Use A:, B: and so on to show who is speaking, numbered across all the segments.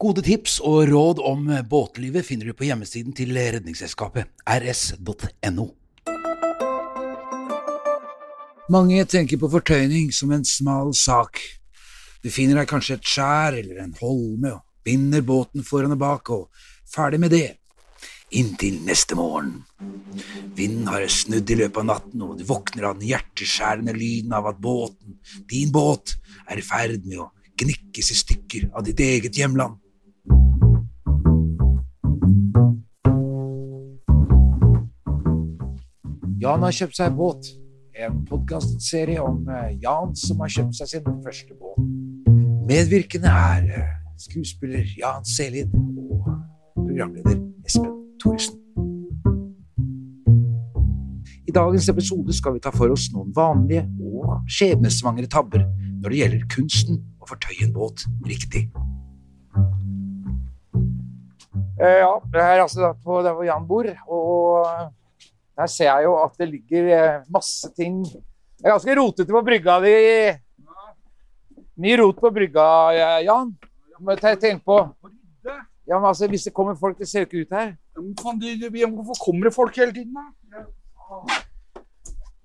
A: Gode tips og råd om båtlivet finner du på hjemmesiden til Redningsselskapet, rs.no. Mange tenker på fortøyning som en smal sak. Du finner deg kanskje et skjær eller en holme og binder båten foran og bak, og ferdig med det. Inntil neste morgen. Vinden har snudd i løpet av natten, og du våkner av den hjerteskjærende lyden av at båten, din båt, er i ferd med å gnikkes i stykker av ditt eget hjemland. Jan har kjøpt seg båt. En podkastserie om eh, Jan som har kjøpt seg sin første båt. Medvirkende er eh, skuespiller Jan Selid og programleder Espen Thoresen. I dagens episode skal vi ta for oss noen vanlige og skjebnesvangre tabber når det gjelder kunsten å fortøye en båt riktig. Eh,
B: Ja, jeg er altså da på der hvor Jan bor, og der ser jeg jo at det ligger eh, masse ting. Det er ganske rotete på brygga di. Mye rot på brygga, eh, Jan. Må jeg te- tenke på. Ja, men altså, hvis det kommer folk, det ser jo ikke ut her.
C: Ja, men faen, de- de- de- Hvorfor kommer det folk hele tiden, da?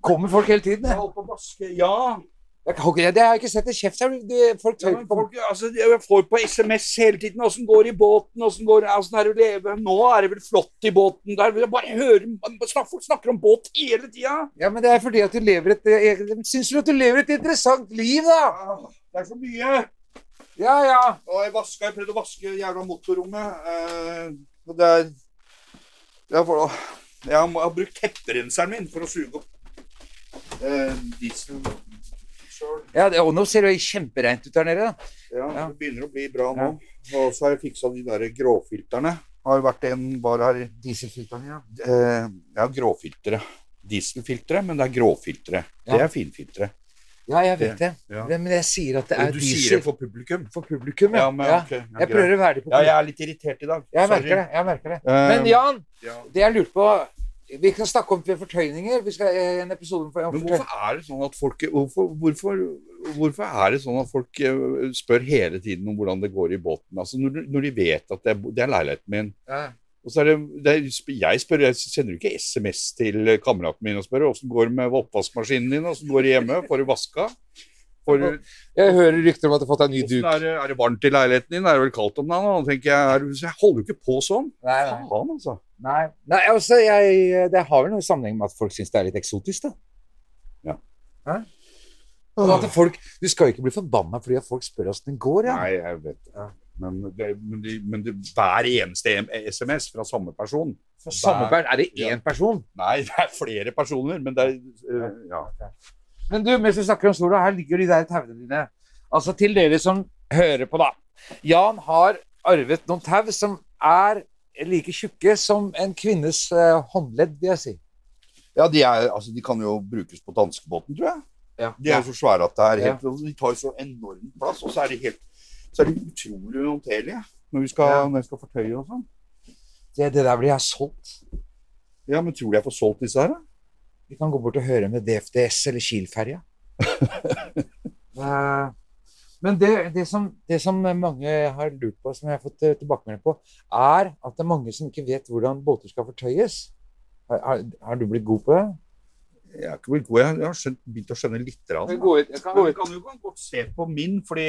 B: Kommer folk hele tiden?
C: Jeg
B: jeg?
C: holder på å vaske. Ja.
B: Jeg kan ikke- det har jeg ikke sett en kjeft her. Det- Folk
C: ja
B: tør
C: men
B: på
C: folk, altså, jeg får på SMS hele tiden. Åssen går det i båten? Åssen går Åssen er det å leve? Nå er det vel flott i båten der. Jeg bare hører snak- Folk snakker om båt hele tida.
B: Ja, men det er fordi at du lever et eh, jeg- Syns du at du lever et interessant liv, da?
C: Det er så mye.
B: Ja, ja.
C: Og jeg vaska, jeg prøvde å vaske jævla motorrommet. Eh, og det er jeg, får, jeg, må, jeg har brukt tepperenseren min for å suge opp eh, diesel. Sjøl.
B: ja det, og nå ser det jo kjempereint ut der nede. da.
C: Ja,
B: Ja.
C: det begynner å bli bra nå.
B: Ja.
C: Og så har jeg fiksa de der gråfilterne. Har jo vært en var her Dieselfilterne, ja. Eh, ja, gråfiltre. Dieselfiltre, men det er gråfiltre.
B: Ja.
C: Det er finfiltre.
B: Ja, jeg vet det.
C: Ja.
B: Men men jeg sier at det er
C: du sier
B: diesel
C: det for publikum.
B: for publikum. Ja,
C: Ja, men
B: ja.
C: ok, ja,
B: Jeg
C: greit.
B: prøver å være litt på
C: Ja, jeg er litt irritert i dag. Eh,
B: Jeg merker det. jeg merker det.
C: Um,
B: Men Jan,
C: ja.
B: det jeg lurte på Vi kan snakke om fortøyninger. Vi skal eh, en episode om
C: Men
B: fortøyninger.
C: hvorfor er det sånn at folk hvorfor, hvorfor, hvorfor er det sånn at folk eh, spør hele tiden om hvordan det går i båten? Altså når, du- når de vet at det er, bo- det er leiligheten min.
B: Ja.
C: Og så er det, det er, jeg, spør, jeg sender jo ikke SMS til kameraten min og spør åssen går det med oppvaskmaskinen din, åssen går det hjemme, får du vaska? Får du,
B: Jeg hører rykter om at du har fått deg ny
C: hvordan
B: duk.
C: er, det, er det varmt i leiligheten din? Er det vel kaldt om dagen? Og da tenker jeg, er, du- så jeg holder jo ikke på sånn.
B: Nei, nei.
C: Faen, altså.
B: nei. nei altså, jeg, det har vel noe i sammenheng med at folk syns det er litt eksotisk, da.
C: Ja.
B: Hæ? Og at folk, du skal jo ikke bli forbanna fordi at folk spør åssen det går. Ja.
C: Nei, jeg vet det. Men, det, men, det, men det, hver eneste SMS fra samme person
B: For samme per- er det én person.
C: Nei, det er flere personer, men det er øh, ja.
B: Men du, mens vi snakker om sola, her ligger de der tauene dine. Altså til dere som hører på, da. Jan har arvet noen tau som er like tjukke som en kvinnes eh, håndledd, vil jeg si.
C: ja de, er, altså, de kan jo brukes på danskebåten, tror jeg.
B: Ja.
C: De er jo så svære at det er helt, altså, de tar jo så enorm plass, og så er de, helt, så er de utrolig uhåndterlige når vi skal,
B: Ja.
C: når jeg skal fortøye og sånn.
B: Det, det der blir jeg solgt.
C: Ja, men tror du jeg får solgt disse her, da?
B: Vi kan gå bort og høre med DFDS eller Kiel-ferja. Eh, Men det, det, som, det som mange har lurt på, som jeg har fått eh, tilbakemelding på, er at det er mange som ikke vet hvordan båter skal fortøyes. Har, har, har du blitt god på det?
C: Jeg er ikke blitt god, jeg jeg har skjønt, begynt å skjønne litt. Rann,
B: Kan vi gå ut-
C: Jeg
B: kan
C: kan,
B: vi gå
C: vi kan jo godt se på min, fordi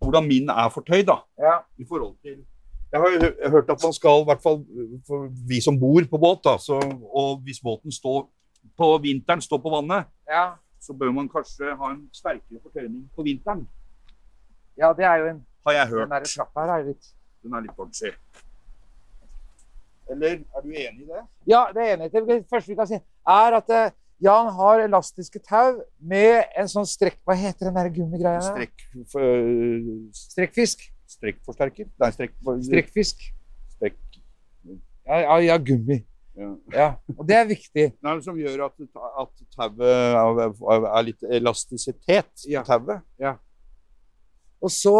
C: hvordan min er fortøyd, da.
B: Ja.
C: i forhold til Jeg har jo hø- hørt at man skal, i hvert fall for vi som bor på båt, da, så, og hvis båten står på vinteren, står på vannet,
B: ja.
C: så bør man kanskje ha en sterkere fortøyning på vinteren,
B: Ja, det er jo en
C: har jeg
B: Den
C: hørt.
B: der trappa her er jo litt
C: Den er litt bouncy. Eller er du enig i det?
B: Ja, det enighet det første vi kan si, er at eh, Jan har elastiske tau med en sånn strekk Hva heter den der gummigreia? der?
C: Strekk for,
B: Strekkfisk.
C: Strekkforsterker? eh, Nei, strekk...
B: Strekkfisk.
C: Strekk.
B: Ja, ja, ja, gummi.
C: Ja.
B: Ja, og det er viktig.
C: Nei, men som gjør at, at tauet er, er- er litt elastisitet i
B: Ja.
C: tauet.
B: Og så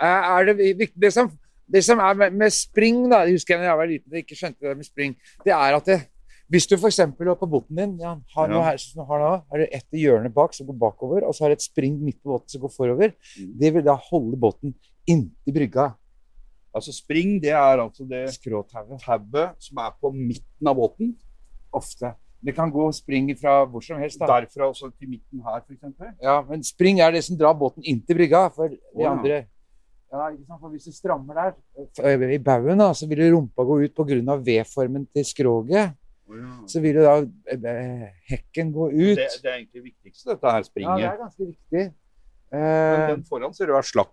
B: er er det viktig Det som, det som er med, med spring, da, jeg husker jeg da jeg var liten og ikke skjønte det med spring, det er at det, hvis du f.eks. på båten din ja, har,
C: Ja.
B: noe her, sånn som du har, nå, har du ett i hjørnet bak som går bakover, og så har du et spring midt på båten som går forover,
C: Mm.
B: det vil da holde båten inntil brygga.
C: Altså spring, det er altså det
B: Skråtauet.
C: tauet som er på midten av båten.
B: Ofte. Det kan gå spring fra hvor som helst. da.
C: Derfra og så til midten her, f.eks.
B: Ja, men spring er det som drar båten inntil brygga. For
C: Å,
B: de
C: ja.
B: andre ja, ikke sant? For hvis du strammer der f- i baugen, da, så vil jo rumpa gå ut pga. V-formen til skroget. Så vil jo da eh, hekken gå ut.
C: Det, det er egentlig det viktigste, dette her
B: ja, det
C: springet.
B: er ganske viktig.
C: Men
B: Eh,
C: den foran ser du er slakk,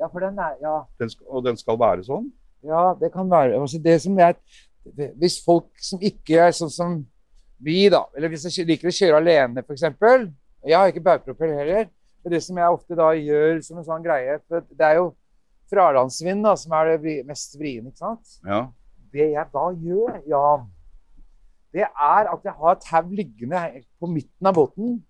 B: ja, for den er Ja,
C: den skal, og den skal være sånn.
B: ja det kan være altså det som er, det- Hvis folk som ikke er sånn som vi, da, eller hvis de liker å kjøre alene, f.eks. Jeg har ikke baugpropell heller. Men det som jeg ofte da gjør som en sånn greie for Det er jo fralandsvind da, som er det vi- mest vriene, ikke sant?
C: Ja.
B: Det jeg da gjør, Jan, det er at jeg har tau liggende her på midten av båten.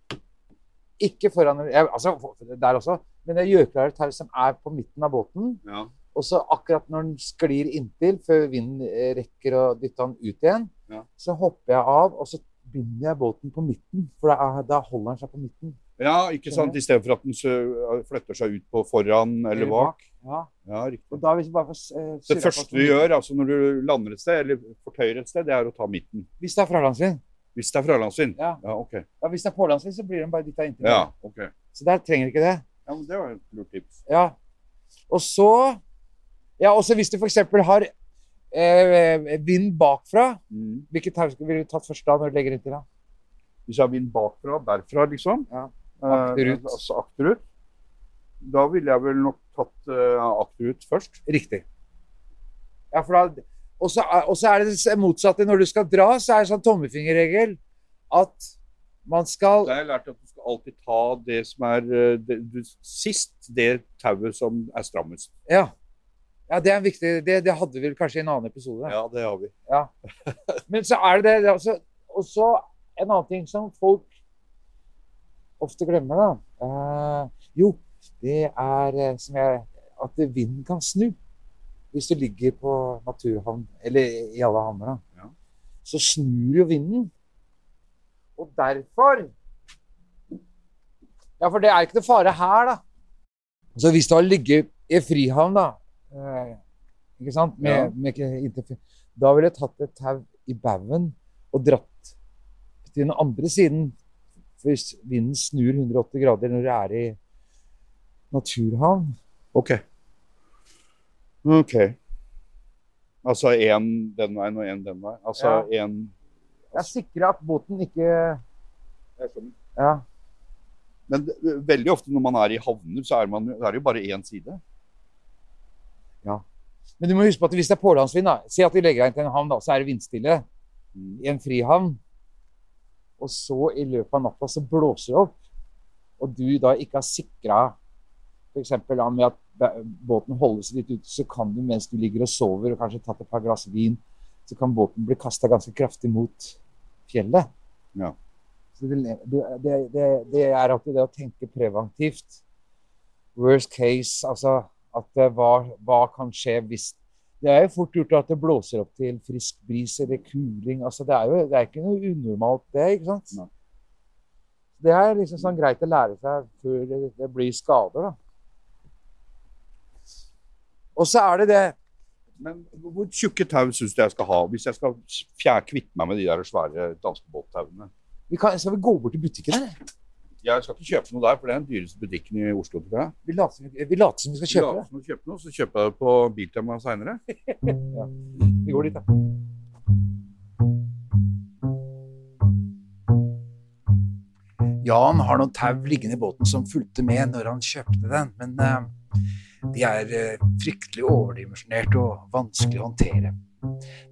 B: Ikke foran jeg, Altså, der også. Men jeg gjør klar et tau som er på midten av båten.
C: ja.
B: Og så akkurat når den sklir inntil, før vinden eh, rekker å dytte den ut igjen,
C: Ja.
B: så hopper jeg av, og så binder jeg båten på midten. For da, er- da holder den seg på midten.
C: Ja, ikke sant? I stedet for at den sø- eh, flytter seg ut på foran eller bak.
B: Ja.
C: Ja, riktig.
B: Og da hvis vi bare får eh,
C: Det
B: surra
C: første
B: på-
C: du gjør altså når du lander et sted, eller fortøyer et sted, det er å ta midten.
B: Hvis det er fralandsvind.
C: Hvis det er fralandsvind.
B: Ja.
C: Ja, OK.
B: ja, hvis det er pålandsvind, så blir den bare dytta inntil.
C: Ja, ok.
B: Så der trenger ikke det.
C: Ja, men det var et lurt tips.
B: Ja. Og så Ja, også hvis du f.eks. har eh, vind bakfra,
C: Mm.
B: hvilket tau skulle- ville du tatt først da når du legger inntil? da?
C: Hvis jeg har vind bakfra, derfra, liksom.
B: Ja.
C: Eh,
B: Akterut.
C: altså akterut. Da ville jeg vel nok tatt eh, akterut først.
B: Riktig. Ja, for da Og så er- og så er det det motsatte. Når du skal dra, så er det sånn tommefingerregel at man
C: Da
B: skal
C: har jeg lært at du skal alltid ta det som er eh, det, du, sist, det tauet som er strammest.
B: Ja. Ja, det er viktig. Det, det hadde vi vel kanskje i en annen episode.
C: Ja, det har vi.
B: Men så er det det, det er altså, Og så en annen ting som folk ofte glemmer, da. Eh, jo, det er eh, som jeg At vinden kan snu. Hvis du ligger på naturhavn, eller i alle havner, da.
C: Ja.
B: Så snur jo vinden. Og derfor Ja, for det er ikke noe fare her, da. Så hvis du har ligget i frihavn, da eh, Ikke sant? Med,
C: Ja.
B: med, ikke- inntil- da ville jeg tatt et tau i baugen og dratt til den andre siden. For hvis vinden snur 180 grader når du er i naturhavn
C: OK. OK. Altså én den veien og én den veien. Altså én
B: Jeg sikrer at båten ikke Ja.
C: Men eh, veldig ofte når man er i havner, så er, man, så er det jo bare én side.
B: Men du må huske på at hvis det er pålandsvind, da Si at du legger deg inn til en havn, da, så er det vindstille i en frihavn. Og så i løpet av natta så blåser det opp, og du da ikke har sikra F.eks. med at ba- båten holdes litt ute, så kan du mens du ligger og sover og kanskje tatt et par glass vin, så kan båten bli kasta ganske kraftig mot fjellet.
C: Ja.
B: Så det, det, det, det, det er at det å tenke preventivt Worst case, altså at eh, hva, hva kan skje hvis Det er jo fort gjort at det blåser opp til frisk bris eller kuling. altså Det er jo det er ikke noe unormalt, det. ikke sant?
C: Nei.
B: Det er liksom sånn greit å lære seg før det, det blir skader, da. Og så er det det
C: Men hvor tjukke tau syns du jeg skal ha hvis jeg skal fjær, kvitte meg med de der svære danske båttauene?
B: vi kan, Skal vi gå bort til butikken, eller?
C: Jeg skal ikke kjøpe noe der, for det er den dyreste butikken i Oslo. tror jeg.
B: Vi later som vi, vi, later som vi skal kjøpe
C: La
B: det.
C: oss nå kjøpe noe, så kjøper jeg det på Biltema seinere.
B: Vi går dit, da.
A: Jan har noen tau liggende i båten som fulgte med når han kjøpte den, men eh, de er eh, fryktelig overdimensjonert og vanskelig å håndtere.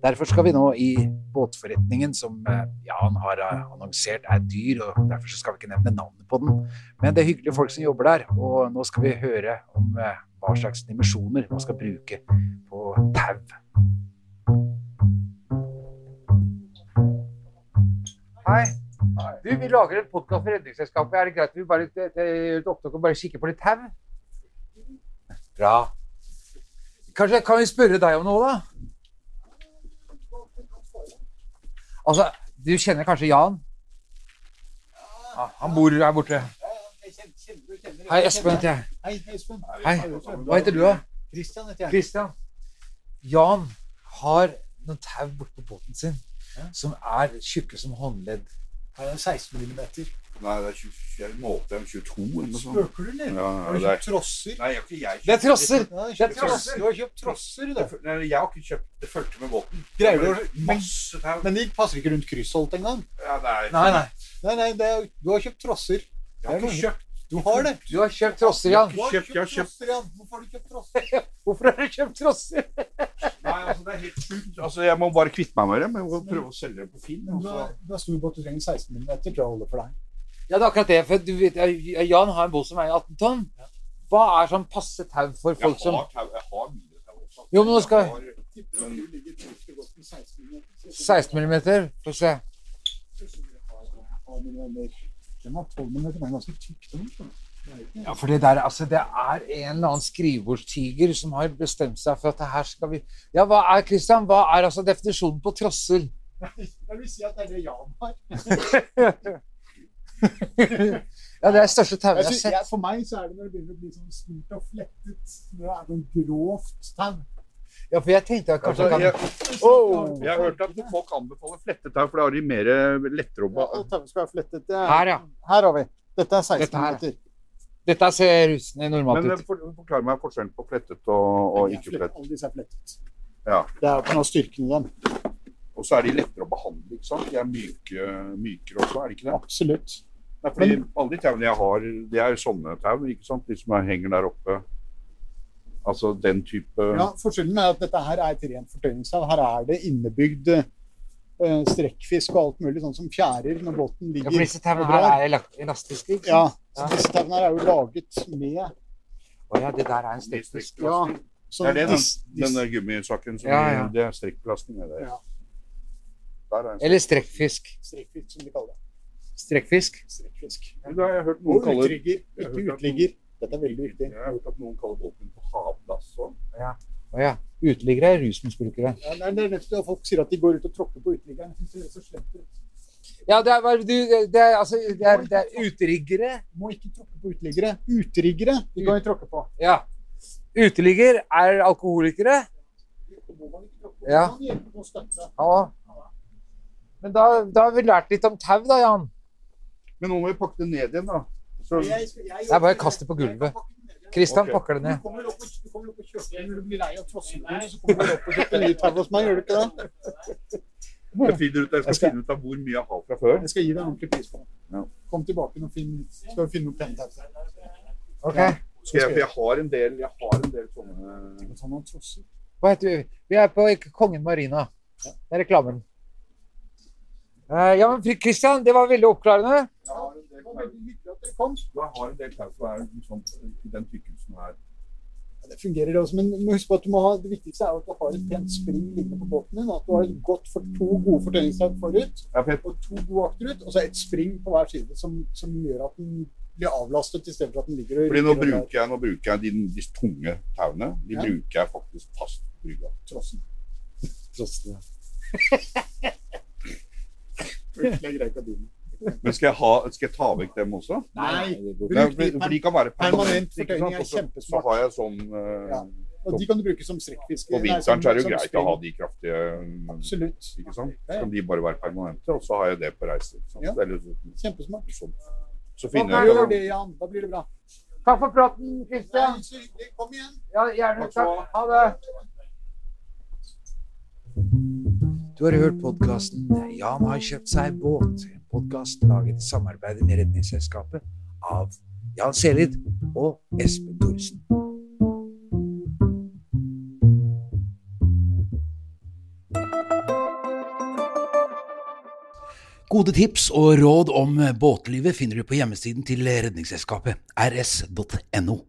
A: Derfor skal vi nå i båtforretningen som eh, Jan har eh, annonsert er dyr, og derfor så skal vi ikke nevne navnet på den. Men det er hyggelige folk som jobber der, og nå skal vi høre om eh,
B: hva slags dimensjoner man skal bruke på tau. Hei. Du, Vi lager en podkast for Redningsselskapet. Er det greit om vi bare eh, eh, gjør et opptak og bare kikker på litt tau? Bra. Kanskje kan vi spørre deg om noe, da? Altså, du kjenner kanskje Jan? Ja, han bor her borte. Hei, Espen heter jeg.
D: Hei, Espen.
B: Hei. Hva heter du, da?
D: Christian heter jeg.
B: Christian. Jan har noen tau bortpå båten sin
D: Ja.
B: som er tjukke som håndledd.
D: Her er 16 millimeter.
C: Nei, det er 20, jeg målte dem 22 eller noe sånt.
D: Spøker du, eller?
C: Ja, ja,
D: Har du
C: det er-
D: kjøpt trosser?
C: Nei, jeg har ikke jeg
B: Det er trosser!
D: Ja, du har
B: Det er
D: kjøpt
B: trosser.
D: trosser. Du har kjøpt trosser, du.
C: Nei, jeg har ikke kjøpt Det fulgte med båten.
D: Greier du å
C: Masse tau.
D: Men de passer ikke rundt kryssholt engang.
C: Ja, det er
B: Nei, nei.
D: Nei, nei, det er, du har kjøpt trosser.
C: Jeg har ikke kjøpt
D: Du har det.
B: Du har kjøpt trosser, Jan.
D: Du har
C: Kjøpt, jeg har kjøpt.
D: trosser, Jan. Hvorfor har du kjøpt trosser?
B: Hvorfor har du kjøpt trosser?
C: Nei, altså, det er helt sjukt. Altså, jeg må bare kvitte meg med dem. Jeg må prøve å selge dem på Finn.
D: Du
C: Altså.
D: har, du har stor båt, du trenger 16 millimeter, tror jeg holder for deg.
B: Ja, det er akkurat det. For du vet, eh, Jan har en båt som er 18 tonn. Hva er sånn passe tau for
C: Jeg
B: folk som
C: har tau. Jeg har mine tau også.
B: Jo, men nå skal-
C: Jeg har-
D: Tipper du ligger trygt og godt med 16 millimeter.
B: 16 millimeter? Få se.
D: Den var 12 millimeter, den er ganske tykk. Den. tror jeg. Det er ikke-
B: Ja, for det der, altså, det er en eller annen skrivebordstiger som har bestemt seg for at det her skal vi Ja, hva er, Christian, hva er altså definisjonen på trosser?
D: Jeg vil si at det er det Jan har.
B: Ja, det er det største tauet
D: Jeg
B: jeg har
D: synes,
B: sett.
D: jeg, for meg så er det når det begynner å bli sånn stort og flettet, når det er noe grovt tau.
B: Ja, for jeg tenkte at kanskje
C: Altså,
B: kan...
C: jeg, jeg har hørt at folk anbefaler flettetau, for da har de mer eh, lettere å
D: Ja,
C: ba-
D: og tauet skal være flettet. Det er,
B: Her, ja.
D: Her har vi. Dette er 16
B: Dette her.
D: meter.
B: Dette ser russende normalt
C: Men eh,
B: ut.
C: for, forklar meg forskjellen på flettet og, og ikke flettet.
D: Alle disse er flettet.
C: Ja.
D: Det er pga. styrken i dem.
C: Og så er de lettere å behandle, ikke sant? De er myke, mykere også, er de ikke det?
D: Absolutt.
C: Nei, fordi alle de tauene jeg har, det er jo sånne tau, ikke sant? De som er- henger der oppe. Altså den type
B: Mm.
D: Ja, Forskjellen er at dette her er et rent fortøyningstau. Her er det innebygd eh, strekkfisk og alt mulig, sånn som fjærer når båten
B: Ja,
D: ligger.
B: for disse tauene
D: og
B: her
D: drar.
B: er elak- elastiske. ikke sant?
D: Ja, så
B: Ja.
D: disse tauene her er jo laget med
B: Å ja, det der er en strikkfisk.
D: Ja.
C: Det
D: sånn
C: er det, den,
D: dis- dis-
C: den der gummisaken. Som
B: Ja, ja.
C: Det er strikkplasten. Det.
D: Ja.
C: Der er en
B: Eller strekkfisk.
D: strekkfisk, som de kaller det.
B: Strekkfisk.
D: Strekkfisk.
C: strekk. Det har jeg hørt noen
D: Og
C: kalle
D: utrigger,
C: Jeg
D: ikke
C: hørte at-
D: utligger. Dette er veldig viktig.
C: Jeg har hørt at noen kaller båten for havdass òg.
B: Å ja. Uteliggere er rusmisbrukere.
D: Ja, det er- det er nettopp det at folk sier at de går ut og tråkker på uteliggeren. Jeg synes det er så slemt ut.
B: Ja, det er, bare- du, det er, altså, det er, det er uteriggere.
D: Må ikke tråkke på uteliggere. Utriggere de kan jo tråkke på.
B: Ja. Uteligger er alkoholikere.
D: Det må man ikke tråkke på.
B: Ja.
D: Man hjelper på å støtte.
B: Ja. Men da, da har vi lært litt om tau, da, Jan.
C: Men nå må vi pakke det ned igjen, da. Så,
D: Jeg skal- jeg-
B: Nei, bare kast det på gulvet. Kristian
C: Ok.
B: pakker det
D: Du
B: ned.
D: kommer opp og, du kommer opp og kjøper Når du blir lei av trossebrus, så kommer du opp og kjøper nye tau hos meg, gjør du ikke det?
C: jeg, finner ut, jeg skal
D: Jeg skal-
C: finne ut av hvor mye jeg har fra før.
D: Jeg skal gi deg en ordentlig pris på det.
C: Ja.
D: Kom tilbake og finn, skal vi finne noe pent tau.
B: Ok.
C: Skal jeg, for jeg har en del, jeg har en del sånne
D: Men sånn noen trosser.
B: Hva heter vi? Vi er på Kongen Marina. Det er reklamen. Eh, ja, men Kristian, det var veldig oppklarende.
C: Jeg har en
D: Det
C: del
D: var
C: tau-
D: veldig hyggelig at dere kom.
C: jeg har en del tau som er sånn, i den tykkelsen her.
D: Ja, Det fungerer det også, men du må huske på at du må ha, det viktigste er jo at du har et pent spring liggende på båten din. og At du har et godt for, to gode fortøyningstau forut
C: Ja, for jeg,
D: og to gode akterut. Og så et spring på hver side som, som gjør at den blir avlastet i stedet for at den ligger og
C: fordi nå
D: rykker og
C: bruker jeg, nå bruker jeg de, de tunge tauene. De
D: Ja.
C: bruker jeg faktisk fast på brygga.
D: drar trossen.
B: Trossen, ja.
D: Fryktelig grei kabine.
C: Men skal jeg, ha, skal jeg ta vekk dem også?
D: Nei,
B: det går-
C: Nei,
D: bruk de
C: for, for de kan være
D: Permanent
C: ikke sant?
D: fortøyning er
C: Og så-
D: kjempesmart.
C: Så har jeg sånn eh,
D: Ja. Og de kan du bruke som strekkfiske.
C: På
D: nei,
C: vinteren
D: som-
C: så er det jo
D: som
C: greit
D: spring.
C: å ha de kraftige eh,
D: Absolutt.
C: ikke sant?
D: Ja,
C: Så
D: ja.
C: kan de bare være permanente, og så har jeg det på reise. Ikke sant?
D: Ja.
C: Eller
D: Kjempesmart.
C: sånn. Så
D: Da
C: finner
D: gjør
C: jeg
D: det, Jan. Da blir det bra.
B: Takk for praten,
D: Ja,
B: Kristian.
D: så hyggelig. Kom igjen.
B: Ja, gjerne.
C: Takk skal du
B: Takk. Ha det.
A: Du har hørt podkasten 'Jan har kjøpt seg båt'. En podkast laget i samarbeid med Redningsselskapet av Jan Selid og Espen Thorsen. Gode tips og råd om båtlivet finner du på hjemmesiden til Redningsselskapet, rs.no.